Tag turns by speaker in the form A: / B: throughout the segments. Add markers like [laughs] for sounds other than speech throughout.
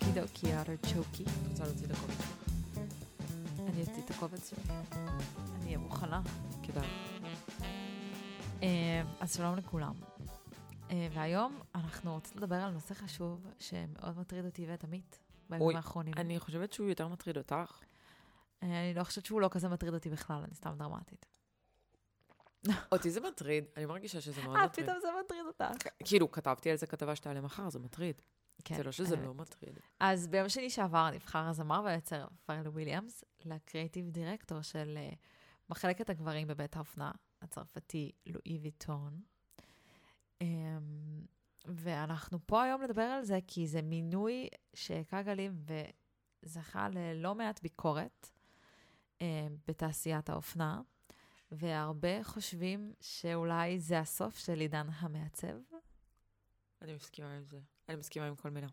A: Outer Choki.
B: את רוצה להוציא את הקובץ שלך?
A: אני אוציא את הקובץ שלי. אני אהיה מוכנה.
B: כדאי.
A: אה, אז שלום לכולם. אה, והיום אנחנו רוצות לדבר על נושא חשוב שמאוד מטריד אותי ואת עמית בימים
B: אוי,
A: האחרונים.
B: אני חושבת שהוא יותר מטריד אותך.
A: אה, אני לא חושבת שהוא לא כזה מטריד אותי בכלל, אני סתם דרמטית.
B: אותי זה מטריד, אני מרגישה שזה מאוד
A: אה,
B: מטריד.
A: פתאום זה מטריד אותך.
B: כאילו, כתבתי על זה כתבה שתעלה מחר, זה מטריד.
A: כן,
B: זה לא שזה
A: האמת.
B: לא מטריד.
A: אז ביום שני שעבר נבחר הזמר והיוצר פרל וויליאמס לקריאיטיב דירקטור של אה, מחלקת הגברים בבית האופנה הצרפתי לואי ויטון. אמ, ואנחנו פה היום לדבר על זה כי זה מינוי שהכה גלים וזכה ללא מעט ביקורת אמ, בתעשיית האופנה, והרבה חושבים שאולי זה הסוף של עידן המעצב.
B: אני מסכימה עם זה. אני מסכימה עם [laughs] כל מילה.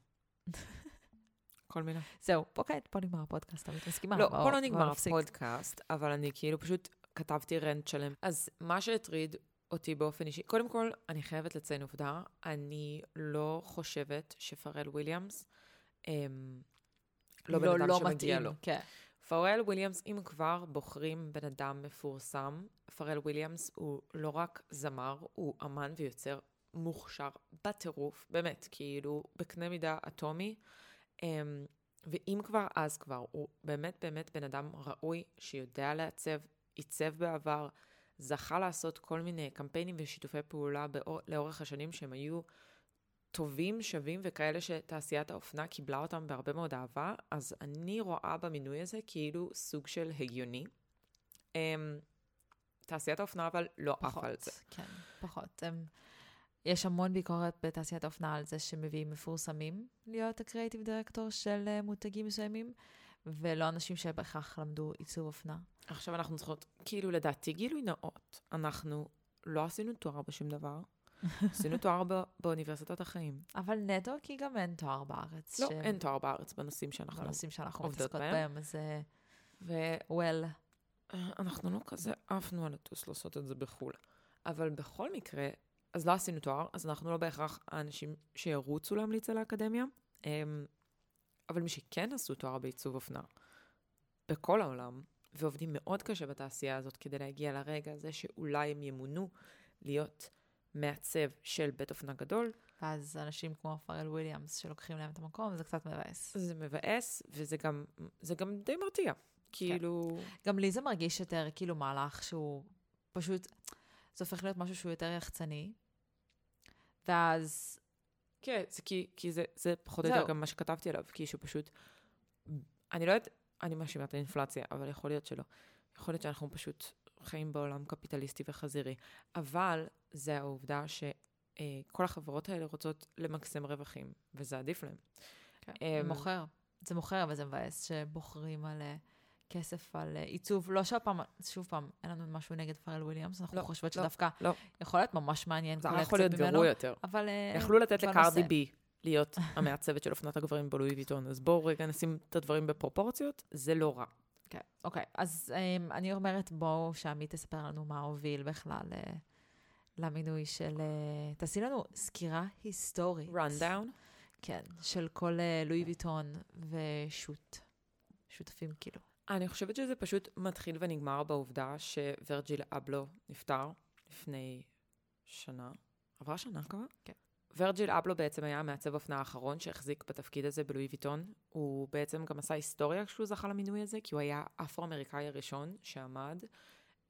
B: כל מילה.
A: זהו, פה כעת, פה נגמר הפודקאסט, אבל את מסכימה?
B: לא,
A: בואו-
B: פה לא
A: בואו
B: נגמר
A: נפסיק.
B: הפודקאסט, אבל אני כאילו פשוט כתבתי רנט שלם. אז מה שהטריד אותי באופן אישי, קודם כל, אני חייבת לציין עובדה, אני לא חושבת שפרל וויליאמס, אמ, לא בן אדם שמגיע
A: מתאים,
B: לו.
A: כן.
B: פרל וויליאמס, אם כבר בוחרים בן אדם מפורסם, פרל וויליאמס הוא לא רק זמר, הוא אמן ויוצר מוכשר בטירוף, באמת, כאילו, בקנה מידה אטומי. אמ, ואם כבר, אז כבר. הוא באמת באמת בן אדם ראוי, שיודע לעצב, עיצב בעבר, זכה לעשות כל מיני קמפיינים ושיתופי פעולה באור, לאורך השנים שהם היו טובים, שווים וכאלה שתעשיית האופנה קיבלה אותם בהרבה מאוד אהבה, אז אני רואה במינוי הזה כאילו סוג של הגיוני. אמ, תעשיית האופנה אבל לא עפה על זה.
A: כן, פחות. הם, יש המון ביקורת בתעשיית האופנה על זה שמביאים מפורסמים להיות הקריאיטיב דירקטור של אה, מותגים מסוימים, ולא אנשים שבהכרח למדו עיצוב אופנה.
B: עכשיו אנחנו צריכות, כאילו לדעתי גילוי נאות, אנחנו לא עשינו תואר בשום דבר, עשינו תואר ב- באוניברסיטת החיים.
A: אבל נטו, כי גם אין תואר בארץ.
B: לא,
A: שהם
B: אין תואר בארץ בנושאים שאנחנו...
A: בנושאים שאנחנו
B: עובדות
A: מתעסקות
B: בהם.
A: בהם, אז אה,
B: ואנחנו
A: well.
B: לא כזה עפנו על הטוס לעשות את זה בחו"ל. אבל בכל מקרה, אז לא עשינו תואר, אז אנחנו לא בהכרח האנשים שירוצו להמליץ על האקדמיה, אמ, אבל מי שכן עשו תואר בעיצוב אופנה, בכל העולם, ועובדים מאוד קשה בתעשייה הזאת כדי להגיע לרגע הזה שאולי הם ימונו להיות מעצב של בית אופנה גדול,
A: ואז אנשים כמו פרל וויליאמס שלוקחים להם את המקום, זה קצת מבאס.
B: זה מבאס, וזה גם, זה גם די מרתיע. כאילו...
A: גם לי זה מרגיש יותר כאילו מהלך שהוא פשוט, זה הופך להיות משהו שהוא יותר יחצני. ואז,
B: כן, זה כי, כי זה, זה פחות או יותר
A: זהו.
B: גם מה שכתבתי עליו, כי שפשוט, אני לא יודעת, אני מאשימה את האינפלציה, אבל יכול להיות שלא. יכול להיות שאנחנו פשוט חיים בעולם קפיטליסטי וחזירי, אבל זה העובדה שכל החברות האלה רוצות למקסם רווחים, וזה עדיף להם.
A: זה
B: אמ,
A: מוכר. זה מוכר וזה מבאס שבוחרים על אה, כסף, על אה, עיצוב. לא שהפעם, שוב פעם, אין לנו משהו נגד פרל וויליאמס, אנחנו
B: לא,
A: חושבות
B: לא,
A: שדווקא
B: לא.
A: יכול להיות ממש מעניין
B: זה היה
A: קולקציות
B: יכול להיות
A: ממנו,
B: גרוע יותר.
A: אבל... אה,
B: יכלו לתת
A: בנושא.
B: לקרדי בי להיות המעצבת של אופנת הגברים בלואי ויטון, אז בואו רגע נשים את הדברים בפרופורציות, זה לא רע.
A: כן, אוקיי. אז אמ, אני אומרת, בואו שעמית תספר לנו מה הוביל בכלל אה, למינוי של... אה, תעשי לנו סקירה היסטורית.
B: rundown.
A: כן, של כל אה, לואי ויטון ושות'. שותפים כאילו.
B: אני חושבת שזה פשוט מתחיל ונגמר בעובדה שוורג'יל אבלו נפטר לפני שנה. עברה שנה כבר?
A: כן.
B: ורג'יל אבלו בעצם היה המעצב אופנה האחרון שהחזיק בתפקיד הזה בלואי ויטון. הוא בעצם גם עשה היסטוריה כשהוא זכה למינוי הזה, כי הוא היה האפרו-אמריקאי הראשון שעמד,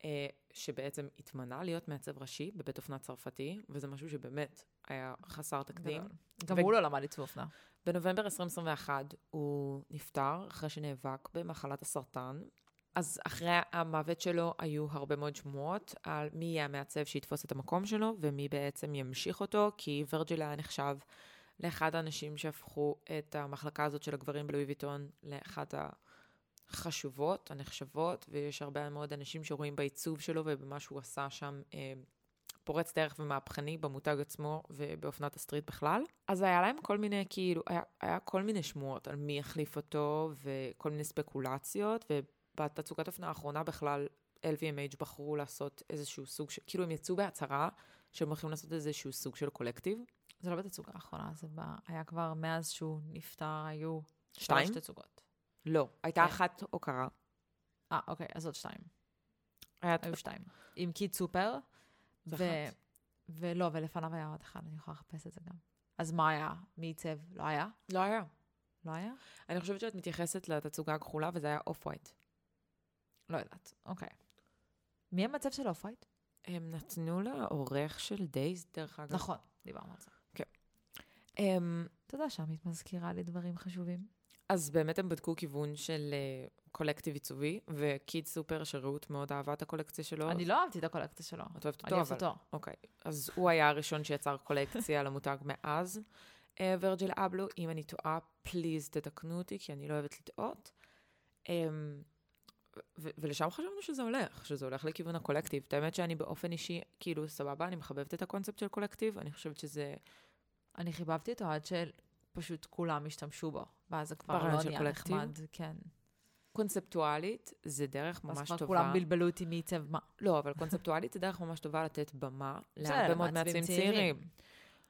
B: אה, שבעצם התמנה להיות מעצב ראשי בבית אופנה צרפתי, וזה משהו שבאמת היה חסר תקדים.
A: גדול. גם
B: ו-
A: הוא לא למד עיצוב אופנה.
B: בנובמבר 2021 הוא נפטר אחרי שנאבק במחלת הסרטן. אז אחרי המוות שלו היו הרבה מאוד שמועות על מי יהיה המעצב שיתפוס את המקום שלו ומי בעצם ימשיך אותו, כי ורג'יל היה נחשב לאחד האנשים שהפכו את המחלקה הזאת של הגברים בלואי ויטון לאחת החשובות, הנחשבות, ויש הרבה מאוד אנשים שרואים בעיצוב שלו ובמה שהוא עשה שם אה, פורץ דרך ומהפכני במותג עצמו ובאופנת הסטריט בכלל. אז היה להם כל מיני, כאילו, היה, היה כל מיני שמועות על מי יחליף אותו וכל מיני ספקולציות, ובתצוגת אופנה האחרונה בכלל, LVMH בחרו לעשות איזשהו סוג של, כאילו הם יצאו בהצהרה שהם הולכים לעשות איזשהו סוג של קולקטיב.
A: זה לא בתצוגה האחרונה, זה ב... היה כבר מאז שהוא נפטר, היו
B: שתיים?
A: שלוש תצוגות.
B: לא, הייתה
A: כן.
B: אחת הוקרה.
A: אה, אוקיי, אז עוד שתיים.
B: היה
A: היו שתיים. עם קיד סופר.
B: זה
A: ו-
B: אחת.
A: ולא, ולפניו היה עוד אחד, אני יכולה לחפש את זה גם. אז מה היה? מי עיצב? לא היה?
B: לא היה.
A: לא היה?
B: אני חושבת שאת מתייחסת לתצוגה הכחולה, וזה היה אוף ווייט.
A: לא יודעת, אוקיי. מי המצב של אוף ווייט?
B: הם נתנו לה עורך של דייז, דרך אגב.
A: נכון, דיברנו על זה.
B: אמ,
A: תודה שעמית מזכירה לי דברים חשובים.
B: אז באמת הם בדקו כיוון של אה, קולקטיב עיצובי, וקיד סופר, שרעות מאוד אהבה את הקולקציה שלו.
A: אני לא אהבתי את הקולקציה שלו.
B: את אוהבת
A: אני
B: אותו,
A: אוהבת
B: אבל...
A: אותו.
B: אוקיי. אז הוא היה הראשון שיצר קולקציה [laughs] למותג מאז. אה, וירג'יל אבלו, אם אני טועה, פליז תתקנו אותי, כי אני לא אוהבת לטעות. אמ, ו- ולשם חשבנו שזה הולך, שזה הולך לכיוון הקולקטיב. את האמת שאני באופן אישי, כאילו, סבבה, אני מחבבת את הקונספט של קולקטיב, אני חושבת שזה
A: אני חיבבתי אותו עד שפשוט כולם השתמשו בו, ואז זה כבר
B: ברעיון
A: לא
B: של
A: נהיה
B: קולקטיב?
A: נחמד, כן.
B: קונספטואלית, זה דרך
A: אז
B: ממש
A: כבר
B: טובה.
A: כולם בלבלו אותי מי עיצב מה.
B: לא, אבל קונספטואלית זה דרך ממש טובה לתת במה
A: בסדר,
B: להרבה מאוד
A: למעצבים
B: מעצבים צעירים.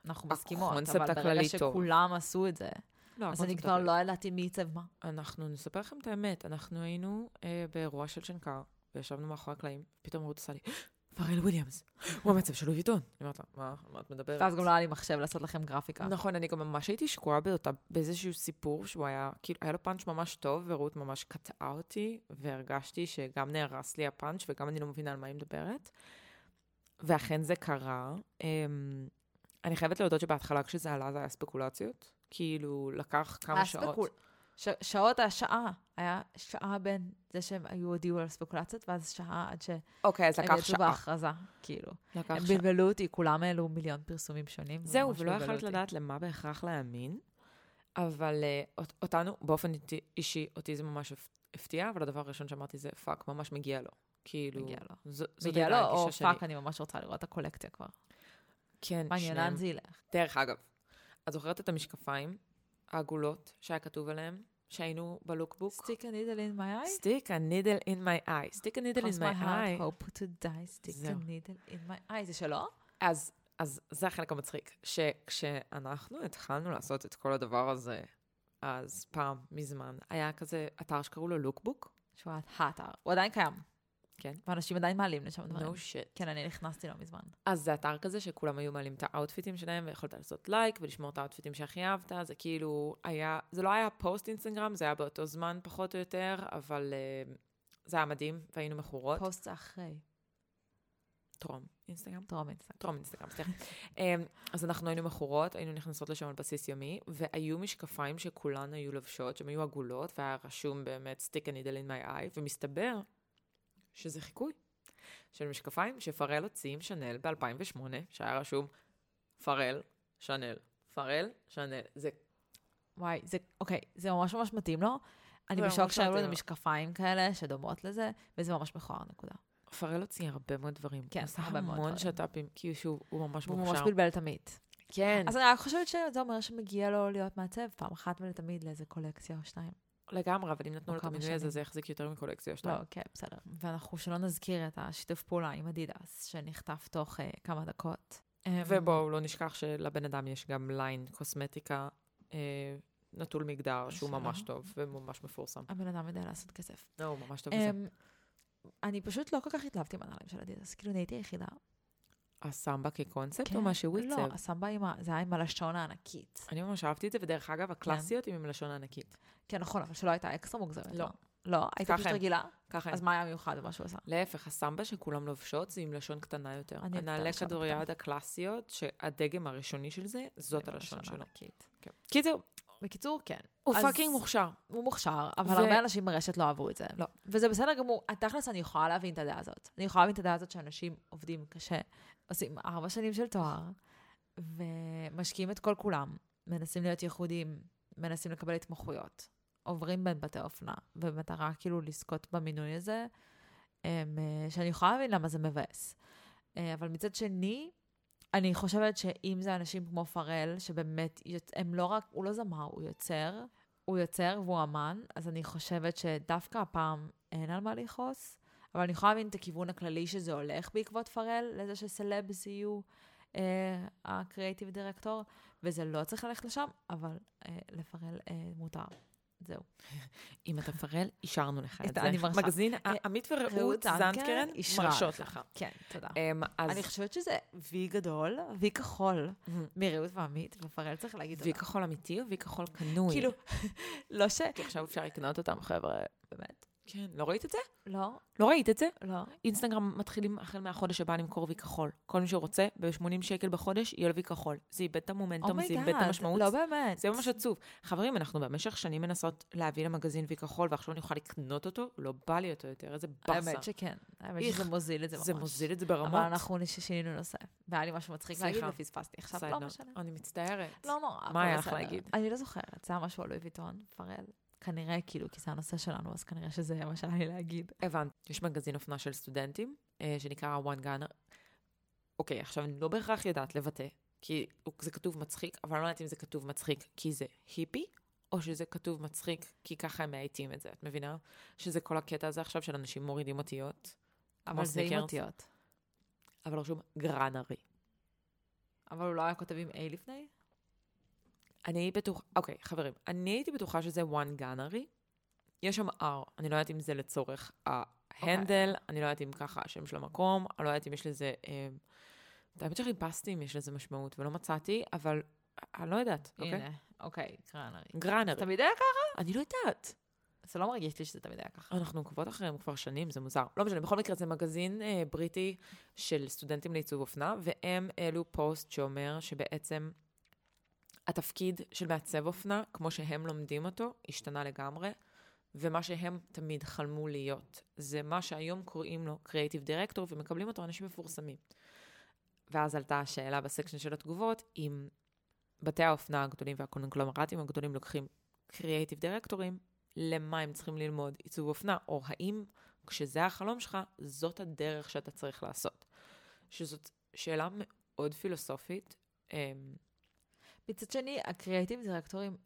A: אנחנו מסכימות,
B: הקונספט
A: אבל ברגע
B: הכללי טוב.
A: שכולם עשו את זה,
B: לא,
A: אז אני
B: הקונספט
A: כבר
B: הכללי.
A: לא ידעתי מי עיצב מה.
B: אנחנו נספר לכם את האמת, אנחנו היינו אה, באירוע של שנקר, וישבנו מאחורי הקלעים, פתאום רות עשה לי, [gasps] פרל וויליאמס, הוא המצב של לואי ויטון. אני אומרת לה, מה, על מה את מדברת?
A: ואז גם לא היה לי מחשב לעשות לכם גרפיקה.
B: נכון, אני גם ממש הייתי שקועה באותה, באיזשהו סיפור שהוא היה, כאילו, היה לו פאנץ' ממש טוב, ורות ממש קטעה אותי, והרגשתי שגם נהרס לי הפאנץ' וגם אני לא מבינה על מה היא מדברת. ואכן זה קרה. אמ, אני חייבת להודות שבהתחלה כשזה עלה זה היה ספקולציות. כאילו, לקח כמה שעות.
A: הספקול- ש... שעות היה שעה, היה שעה בין זה שהם היו הודיעו על ספקולציות, ואז שעה עד שהם
B: אוקיי, אז לקח
A: יצאו
B: שעה.
A: בהכרזה, כאילו.
B: לקח
A: הם
B: שעה.
A: בלבלו אותי, כולם העלו מיליון פרסומים שונים.
B: זהו,
A: וממש
B: ולא
A: בלבלו
B: יכלת
A: אותי.
B: לדעת למה בהכרח להאמין, אבל אה, אות- אותנו, באופן איטי- אישי, אותי זה ממש הפ- הפתיע, אבל הדבר הראשון שאמרתי זה, פאק, ממש מגיע לו. כאילו,
A: מגיע לו.
B: זו- זאת
A: מגיע
B: הייתה
A: לו, לא, או
B: הגישה שלי.
A: פאק, אני ממש רוצה לראות את הקולקציה כבר.
B: כן,
A: מעניין,
B: שניהם.
A: לאן זה ילך?
B: דרך אגב, את זוכרת את המשקפיים העגולות שהיה כתוב עליהם, שהיינו בלוקבוק?
A: Stick a needle in my eye?
B: Stick a needle in my eye. Stick a needle in
A: Cross my
B: my
A: heart,
B: eye.
A: hope to die, stick a
B: זהו.
A: needle in my eye. זה שלו?
B: אז, אז זה החלק המצחיק, שכשאנחנו התחלנו לעשות את כל הדבר הזה, אז פעם, מזמן, היה כזה אתר שקראו לו לוקבוק.
A: שהוא האתר. הוא עדיין קיים.
B: כן.
A: ואנשים עדיין מעלים לשם דברים.
B: No shit.
A: כן, אני נכנסתי לא מזמן.
B: אז זה אתר כזה שכולם היו מעלים את האוטפיטים שלהם, ויכולת לעשות לייק ולשמור את האוטפיטים שהכי אהבת, זה כאילו היה, זה לא היה פוסט אינסטגרם, זה היה באותו זמן פחות או יותר, אבל uh, זה היה מדהים, והיינו מכורות.
A: פוסט זה אחרי.
B: טרום אינסטגרם.
A: טרום אינסטגרם.
B: טרום אינסטגרם, סליחה. אמ, אז אנחנו היינו מכורות, היינו נכנסות לשם על בסיס יומי, והיו משקפיים שכולן היו לובשות, שהן היו עגולות, והיה רשום באמת stick a needle in my eye, ומסתבר שזה חיקוי של משקפיים שפרל הוציא עם שאנל ב-2008, שהיה רשום פרל, שאנל, פרל, שאנל. זה
A: וואי, זה, אוקיי, זה ממש ממש מתאים לו. אני
B: זה
A: בשוק
B: ממש
A: שהיו
B: מתאים
A: לנו
B: לו.
A: משקפיים כאלה שדומות לזה, וזה ממש מכוער, נקודה.
B: פרל הוציא הרבה מאוד דברים.
A: כן,
B: הוא עשה
A: הרבה מאוד
B: המון
A: דברים.
B: שת"פים, כי שהוא הוא ממש
A: הוא ממש
B: מוכשר.
A: בלבל את עמית.
B: כן.
A: אז אני רק חושבת שזה אומר שמגיע לו להיות מעצב פעם אחת ולתמיד לאיזה קולקציה או שתיים.
B: לגמרי, אבל אם נתנו
A: או
B: לו את
A: כמה
B: המינוי הזה,
A: שנים.
B: זה יחזיק יותר מקולקציה או
A: לא,
B: שתיים.
A: כן, בסדר. ואנחנו שלא נזכיר את השיתוף פעולה עם אדידס, שנחטף תוך אה, כמה דקות. אה,
B: ובואו לא נשכח שלבן אדם יש גם ליין קוסמטיקה אה, נטול מגדר שהוא
A: שלא.
B: ממש טוב וממש מפורסם.
A: הבן אדם יודע לעשות כסף.
B: לא, הוא ממש טוב בזה.
A: אמ, אני פשוט לא כל כך התלהבתי מהנעליים של אדידס, כאילו אני הייתי היחידה.
B: הסמבה כקונספט או
A: כן,
B: מה שהוא
A: לא,
B: עיצב?
A: הסמבה עם ה... זה היה עם הלשון הענקית.
B: אני ממש אהבתי את זה, ודרך אגב, הקלאסיות הן עם לשון ענקית.
A: כן, נכון, אבל שלא הייתה אקסטרה מוגזמת.
B: לא.
A: לא, הייתה
B: ככה
A: פשוט
B: הם. כן.
A: רגילה.
B: ככה,
A: אז
B: הם.
A: מה היה מיוחד במה שהוא עשה?
B: להפך, הסמבה שכולם לובשות זה עם לשון קטנה יותר.
A: אני אוהבת את
B: הנעלי
A: הלשון
B: כדוריד
A: הקטנה.
B: הקלאסיות, שהדגם הראשוני של זה, זאת
A: עם
B: הלשון שלו.
A: הענקית.
B: כן. קיצר,
A: בקיצור, כן.
B: הוא
A: אז-
B: פאקינג מוכשר.
A: הוא מוכשר, אבל
B: ו-
A: הרבה אנשים ברשת לא אהבו את זה.
B: לא.
A: וזה בסדר גמור. תכלס, אני יכולה להבין את הדעה הזאת. אני יכולה להבין את הדעה הזאת שאנשים עובדים קשה, עושים ארבע שנים של תואר, ומשקיעים את כל כולם, מנסים להיות ייחודים, מנסים לקבל התמחויות, עוברים בין בתי אופנה, במטרה כאילו לזכות במינוי הזה, הם, אה, שאני יכולה להבין למה זה מבאס. אה, אבל מצד שני, אני חושבת שאם זה אנשים כמו פרל, שבאמת, יוצ- הם לא רק, הוא לא זמר, הוא יוצר, הוא יוצר והוא אמן, אז אני חושבת שדווקא הפעם אין על מה לכעוס, אבל אני יכולה להבין את הכיוון הכללי שזה הולך בעקבות פרל, לזה שסלבס יהיו אה, הקריאיטיב דירקטור, וזה לא צריך ללכת לשם, אבל אה, לפרל אה, מותר. זהו.
B: אם אתה מפרל, אישרנו לך את
A: את-
B: זה.
A: אני מרשה.
B: מגזין עמית ורעות זנדקרן
A: אישרה
B: מרשות לך.
A: כן, תודה.
B: אמ, אז
A: אני חושבת שזה וי גדול, וי כחול, מרעות ועמית, ופרל צריך להגיד
B: וי
A: תודה.
B: כחול אמיתי או וי כחול קנוי?
A: כאילו, [laughs] לא ש...
B: כי עכשיו אפשר לקנות אותם, חבר'ה, באמת. כן, לא ראית את זה?
A: לא,
B: לא ראית את זה?
A: לא.
B: אינסטגרם מתחילים החל מהחודש הבא למכור וי כחול. כל מי שרוצה, ב-80 שקל בחודש, יהיה לו וי כחול. זה איבד את המומנטום, זה איבד את
A: אומייגאד,
B: המשמעות.
A: Oh לא באמת.
B: זה ממש עצוב. חברים, אנחנו במשך שנים מנסות להביא למגזין וי כחול, ועכשיו אני יכולה לקנות אותו, לא בא לי אותו יותר, איזה באסה.
A: האמת שכן. האמת
B: איך.
A: שזה מוזיל את זה ממש.
B: זה מוזיל את זה
A: אבל
B: ברמות.
A: אנחנו שינינו נושא. והיה לי משהו מצחיק
B: סליחה.
A: להגיד, ופספסתי. עכשיו
B: Side
A: לא
B: note.
A: משנה.
B: אני מצטערת.
A: לא נורא, הכל
B: היה לך
A: בסדר.
B: להגיד?
A: אני לא זוכרת, זה היה משהו על לואי ויטון, פרל. כנראה, כאילו, כי זה הנושא שלנו, אז כנראה שזה מה שהיה לי להגיד.
B: הבנתי. יש מגזין אופנה של סטודנטים, אה, שנקרא one gunner. אוקיי, עכשיו אני לא בהכרח יודעת לבטא, כי הוא- זה כתוב מצחיק, אבל אני לא יודעת אם זה כתוב מצחיק כי זה היפי, או שזה כתוב מצחיק כי ככה הם מאייתים את זה, את מבינה? שזה כל הקטע הזה עכשיו של אנשים מורידים אותיות,
A: אבל זה עם
B: סניקרס.
A: אותיות.
B: אבל רשום גרנרי.
A: אבל הוא לא היה כותב עם A לפני?
B: אני בטוחה, אוקיי, חברים, אני הייתי בטוחה שזה one gunnery. יש שם R, אני לא יודעת אם זה לצורך ההנדל, okay. אני לא יודעת אם ככה השם של המקום, אני לא יודעת אם יש לזה... אה, האמת שחיפשתי אם יש לזה משמעות, ולא מצאתי, אבל אני לא יודעת, אוקיי?
A: הנה, אוקיי, קרנרי. זה
B: גרנרי.
A: תמיד היה ככה?
B: אני לא יודעת.
A: זה לא מרגיש לי שזה תמיד היה ככה.
B: אנחנו עוקבות אחריהם כבר שנים, זה מוזר. לא משנה, בכל מקרה זה מגזין אה, בריטי של סטודנטים לעיצוב אופנה, והם העלו פוסט שאומר שבעצם התפקיד של מעצב אופנה, כמו שהם לומדים אותו, השתנה לגמרי, ומה שהם תמיד חלמו להיות, זה מה שהיום קוראים לו קריאיטיב דירקטור, ומקבלים אותו אנשים מפורסמים. ואז עלתה השאלה בסקשן של התגובות, אם בתי האופנה הגדולים והקונגלומרטים הגדולים לוקחים קריאיטיב דירקטורים, למה הם צריכים ללמוד עיצוב אופנה, או האם כשזה החלום שלך, זאת הדרך שאתה צריך לעשות. שזאת שאלה מאוד פילוסופית. אמ,
A: מצד שני, הקריאיטיב דירקטורים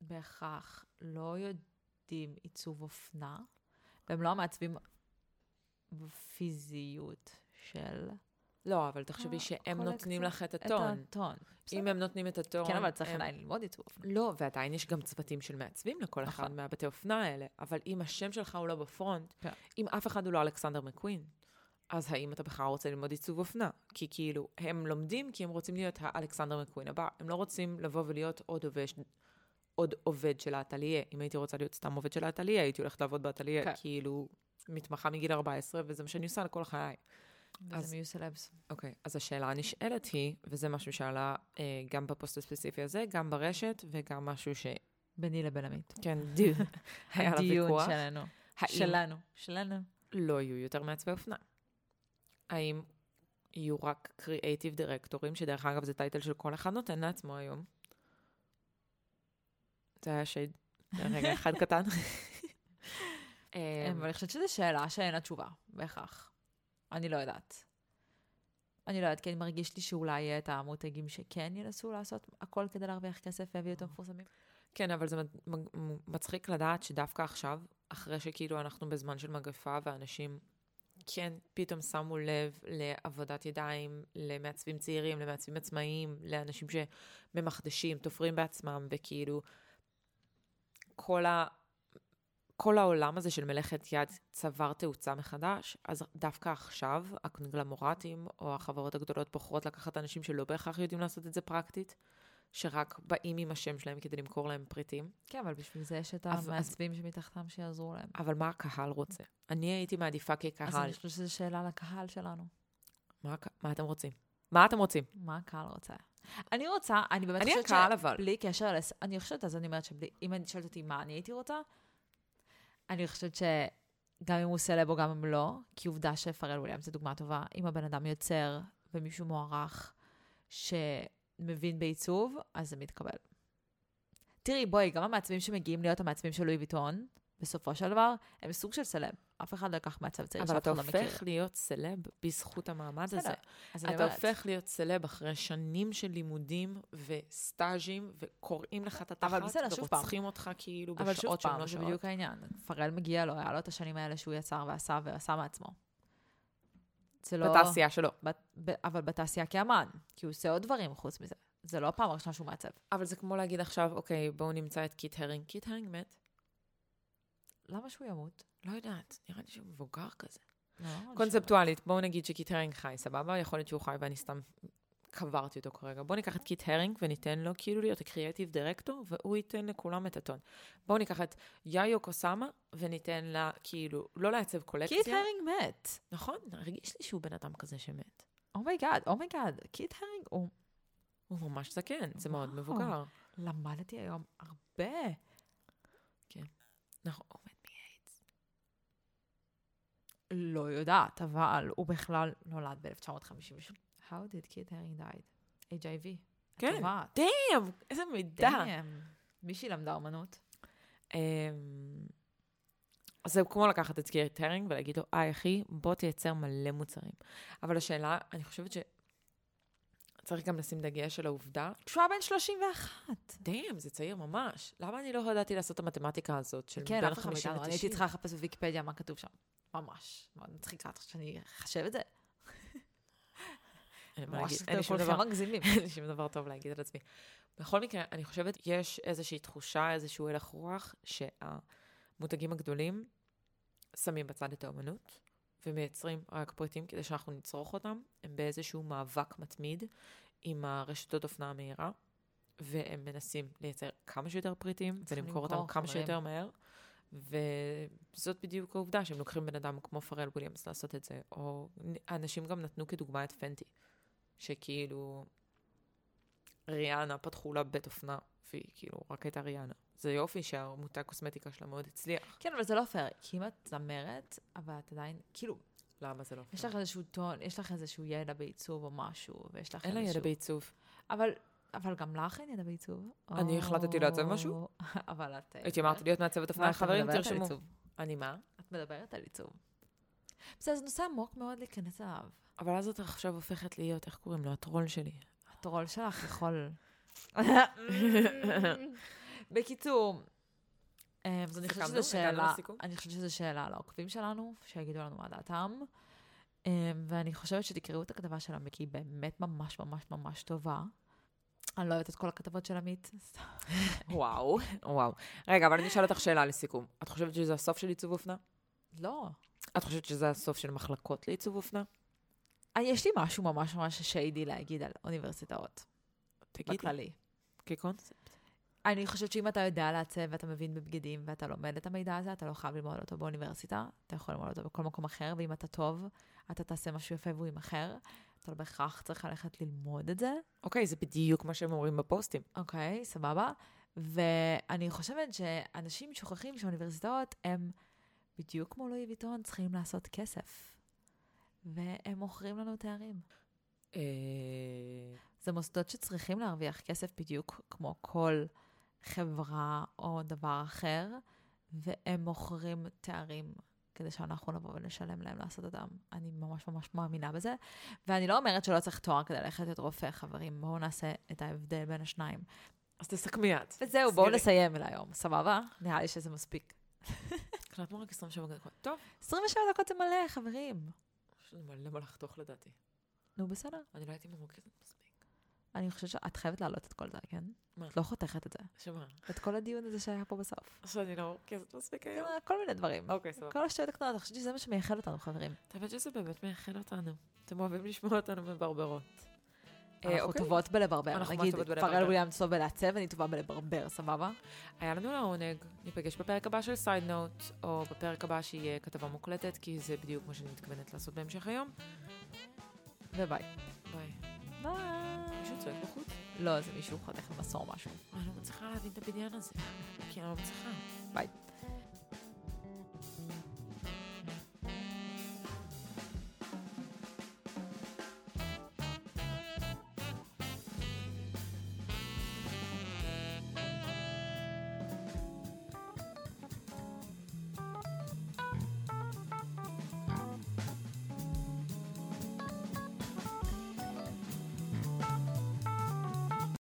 A: בהכרח לא יודעים עיצוב אופנה, והם לא המעצבים בפיזיות של
B: לא, אבל תחשבי
A: אה,
B: שהם
A: כל
B: נותנים
A: הקצת-
B: לך את
A: את
B: הטון.
A: הטון.
B: אם
A: בסדר.
B: הם נותנים את הטון...
A: כן, אבל צריך
B: הם-
A: עדיין ללמוד עיצוב אופנה.
B: לא, ועדיין יש גם צוותים של מעצבים לכל אחד
A: נכון.
B: מהבתי אופנה האלה, אבל אם השם שלך הוא לא בפרונט,
A: כן.
B: אם אף אחד הוא לא אלכסנדר מקווין, אז האם אתה בכלל רוצה ללמוד עיצוב אופנה? כי כאילו, הם לומדים כי הם רוצים להיות האלכסנדר מקווין הבא, הם לא רוצים לבוא ולהיות עוד עובד, עוד עובד של האטליה. אם הייתי רוצה להיות סתם עובד של האטליה, הייתי הולכת לעבוד באטליה,
A: כן.
B: כאילו, מתמחה מגיל 14, וזה מה שאני עושה לכל חיי. אז-
A: אז הם יהיו סלבס.
B: אוקיי, okay, אז השאלה הנשאלת היא, וזה משהו שעלה אה, גם בפוסט הספציפי הזה, גם ברשת, וגם משהו ש...
A: ביני לבין עמית.
B: כן, דיון. [laughs] היה לה
A: הדיון
B: ויכוח.
A: שלנו.
B: האם
A: שלנו. שלנו.
B: לא יהיו יותר מעצבי אופנה? האם יהיו רק קריאייטיב דירקטורים, שדרך אגב זה טייטל של כל אחד נותן לעצמו היום? זה היה שייד. רגע, אחד [laughs] קטן. אמ,
A: אה, אבל אני חושבת שזו שאלה שאין לה תשובה, בהכרח. אני לא יודעת. אני לא יודעת, כי אני מרגיש לי שאולי יהיה את המותגים שכן ינסו לעשות הכל כדי להרוויח כסף ויביאו
B: אה.
A: יותר מפורסמים.
B: כן, אבל זה מד- מג- מ- מצחיק לדעת שדווקא עכשיו, אחרי שכאילו אנחנו בזמן של מגפה ואנשים כן פתאום שמו לב לעבודת ידיים, למעצבים צעירים, למעצבים עצמאיים, לאנשים שממחדשים, תופרים בעצמם, וכאילו כל, ה... כל העולם הזה של מלאכת יד צבר תאוצה מחדש, אז דווקא עכשיו הקונגלמורטים או החברות הגדולות בוחרות לקחת אנשים שלא בהכרח יודעים לעשות את זה פרקטית. שרק באים עם השם שלהם כדי למכור להם פריטים.
A: כן, אבל בשביל זה יש את
B: אז-
A: המעצבים שמתחתם שיעזרו להם.
B: אבל מה הקהל רוצה? אני הייתי מעדיפה
A: אז
B: כקהל.
A: אני חושבת שזו שאלה לקהל שלנו.
B: מה, הק- מה אתם רוצים? מה אתם רוצים?
A: מה הקהל רוצה? אני רוצה, אני באמת
B: אני
A: חושבת
B: הקהל אבל.
A: בלי קשר לס... אני חושבת, אז אני אומרת שבלי... אם אני שואלת אותי מה אני הייתי רוצה, אני חושבת שגם אם הוא סלב או גם אם לא, כי עובדה שפרל וויליאם זו דוגמה טובה, אם הבן אדם יוצר ומישהו מוערך שמבין בעיצוב, אז זה מתקבל. תראי, בואי, גם המעצבים שמגיעים להיות המעצבים של לואי ויטון, בסופו של דבר, הם סוג של סלב. אף אחד לא ייקח מעצב צעיר
B: אבל
A: שאף
B: אתה
A: אחד לא מכיר.
B: הופך להיות סלב בזכות המעמד הזה.
A: בסדר, אז אני
B: אתה
A: אומרת,
B: הופך להיות סלב אחרי שנים של לימודים וסטאז'ים, וקוראים לך את
A: אבל
B: התחת,
A: בסדר, שוב פעם.
B: ורוצחים אותך כאילו
A: אבל שוב
B: בשעות שהם
A: פעם,
B: לא
A: זה
B: שעות.
A: בדיוק העניין. פרל מגיע לו, היה לו את השנים האלה שהוא יצר ועשה ועשה מעצמו. זה לא...
B: בתעשייה שלו.
A: בת, ב, אבל בתעשייה כאמן, כי הוא עושה עוד דברים חוץ מזה. זה לא הפעם הראשונה שהוא מעצב.
B: אבל זה כמו להגיד עכשיו, אוקיי, בואו נמצא את קיט הרינג. קיט הרינג מת.
A: למה שהוא ימות?
B: לא יודעת, נראה לי שהוא מבוגר כזה.
A: לא,
B: נכון,
A: אני
B: קונספטואלית, בואו נגיד שקיט הרינג חי, סבבה? יכול להיות שהוא חי ואני סתם קברתי אותו כרגע. בואו ניקח את קיט הרינג וניתן לו כאילו להיות הקריאיטיב דירקטור, והוא ייתן לכולם את הטון. בואו ניקח את יאיו קוסאמה וניתן לה, כאילו, לא לעצב
A: שואלת.
B: קולקציה.
A: קיט הרינג מת. Oh
B: נכון, הרגיש לי שהוא בן אדם כזה שמת.
A: אומייגאד, אומייגאד. קיט הרינג הוא...
B: הוא ממש זקן, זה מאוד
A: וואו.
B: מבוגר.
A: למדתי היום הרבה.
B: נכון, הוא מת מ-
A: לא יודעת, אבל הוא בכלל נולד ב-1950. How did קיט הרינג died? HIV. את
B: כן.
A: יודעת.
B: דאם, איזה מידע.
A: דאם. מישהי למדה אומנות.
B: אמ, אז זה כמו לקחת את קירט הרינג ולהגיד לו, היי אחי, בוא תייצר מלא מוצרים. אבל השאלה, אני חושבת ש... צריך גם לשים דגש על העובדה,
A: שהוא היה בן 31.
B: דאם, זה צעיר ממש. למה אני לא ידעתי לעשות את המתמטיקה הזאת של
A: כן,
B: בין
A: אף אחד
B: 50
A: מאיתנו. אני
B: ל-90?
A: הייתי צריכה לחפש בוויקיפדיה מה כתוב שם. ממש. מאוד מצחיקה את חושבת שאני אחשב את זה.
B: אין לי מה
A: ממש
B: להגיד, אין
A: אתם
B: לי שום דבר-
A: כולכם מגזימים. [laughs]
B: אין לי שום דבר טוב להגיד על עצמי. בכל מקרה, אני חושבת, יש איזושהי תחושה, איזשהו הלך רוח, שהמותגים הגדולים שמים בצד את האומנות, ומייצרים רק פריטים כדי שאנחנו נצרוך אותם. הם באיזשהו מאבק מתמיד עם הרשתות אופנה המהירה, והם מנסים לייצר כמה שיותר פריטים,
A: צריכים
B: ולמכור אותם
A: למכור,
B: כמה
A: חברים.
B: שיותר מהר. וזאת בדיוק העובדה שהם לוקחים בן אדם כמו פרל וויליאמס לעשות את זה, או אנשים גם נתנו כדוגמה את פנטי, שכאילו ריאנה פתחו לה בית אופנה, והיא כאילו רק הייתה ריאנה. זה יופי שהמותג קוסמטיקה שלה מאוד הצליח.
A: כן, אבל זה לא פייר, כי אם את זמרת, אבל את עדיין, כאילו,
B: למה זה לא?
A: יש לך איזשהו טון, יש לך איזשהו ידע בעיצוב או משהו, ויש לך
B: אין
A: איזשהו...
B: לה ידע בעיצוב.
A: אבל, אבל גם לך אין ידע בעיצוב.
B: אני החלטתי לעצב משהו.
A: או, [laughs] אבל את... אה,
B: הייתי אמרת להיות מעצבת
A: אבל
B: אופנה,
A: את
B: חברים,
A: מדברת על
B: תרשמו.
A: עיצוב.
B: אני מה?
A: את מדברת על עיצוב. בסדר, זה נושא עמוק מאוד להיכנס אליו.
B: אבל אז את עכשיו הופכת להיות, איך קוראים לו? הטרול שלי.
A: הטרול שלך יכול... בקיצור, אה, אז אני חושבת
B: סיכמנו?
A: שזו
B: הגענו
A: שאלה,
B: לסיכום?
A: אני חושבת שזו שאלה לעוקבים שלנו, שיגידו לנו מה דעתם. אה, ואני חושבת שתקראו את הכתבה של עמית, כי היא באמת ממש ממש ממש טובה. אני לא אוהבת את כל הכתבות של עמית.
B: [laughs] וואו, וואו. רגע, אבל אני אשאל אותך שאלה לסיכום. את חושבת שזה הסוף של עיצוב אופנה?
A: לא.
B: את חושבת שזה הסוף של מחלקות לעיצוב אופנה?
A: אה, יש לי משהו ממש ממש שיידי להגיד על אוניברסיטאות,
B: תגידי.
A: בכללי.
B: כקונספט.
A: אני חושבת שאם אתה יודע לעצב ואתה מבין בבגדים ואתה לומד את המידע הזה, אתה לא חייב ללמוד אותו באוניברסיטה, אתה יכול ללמוד אותו בכל מקום אחר, ואם אתה טוב, אתה תעשה משהו יפה והוא יימכר. אתה לא בהכרח צריך ללכת ללמוד את זה,
B: אוקיי, זה בדיוק מה שהם אומרים בפוסטים.
A: אוקיי, סבבה. ואני חושבת שאנשים שוכחים שאוניברסיטאות הם בדיוק כמו לואי ויטון צריכים לעשות כסף. והם מוכרים לנו תארים.
B: אה,
A: זה מוסדות שצריכים להרוויח כסף בדיוק כמו כל חברה או דבר אחר, והם מוכרים תארים כדי שאנחנו נבוא ונשלם להם לעשות אותם. אני ממש ממש מאמינה בזה, ואני לא אומרת שלא צריך תואר כדי ללכת להיות רופא, חברים. בואו נעשה את ההבדל בין השניים.
B: אז תסכמי את.
A: וזהו, בואו
B: סגרי.
A: נסיים להיום, סבבה? נראה לי שזה מספיק.
B: הקלטנו רק 27 דקות. טוב,
A: 27 דקות זה מלא, חברים.
B: יש לנו מלא מה לחתוך לדעתי.
A: נו, בסדר.
B: אני לא הייתי מרוכזת מספיק.
A: אני חושבת שאת חייבת להעלות את כל זה, כן?
B: מה?
A: את לא חותכת את זה.
B: שמה?
A: את כל הדיון הזה שהיה פה בסוף.
B: שאני לא מרוכזת מספיק היום?
A: כל מיני דברים.
B: אוקיי, סבבה.
A: כל השטויות הקטנות, אני חושבת שזה מה שמייחד אותנו, חברים.
B: האמת שזה באמת מאחד אותנו. אתם אוהבים לשמוע אותנו מברברות. אה,
A: אנחנו
B: אוקיי.
A: טובות בלברבר.
B: אנחנו ממש
A: נגיד,
B: טובות
A: פרל
B: בלברבר.
A: וויליאמס טוב בלעצב, אני טובה בלברבר, סבבה?
B: היה לנו לעונג, ניפגש בפרק הבא של סייד נוט, או בפרק הבא שיהיה כתבה מוקלטת, כי זה בדיוק מה שאני מתכוונת לעשות בהמשך היום.
A: וביי.
B: ביי. מישהו
A: ביי.
B: צועק בחוץ?
A: לא, זה מישהו חותך למסור משהו.
B: אני לא מצליחה להבין את הבניין הזה. כי אני לא מצליחה.
A: ביי.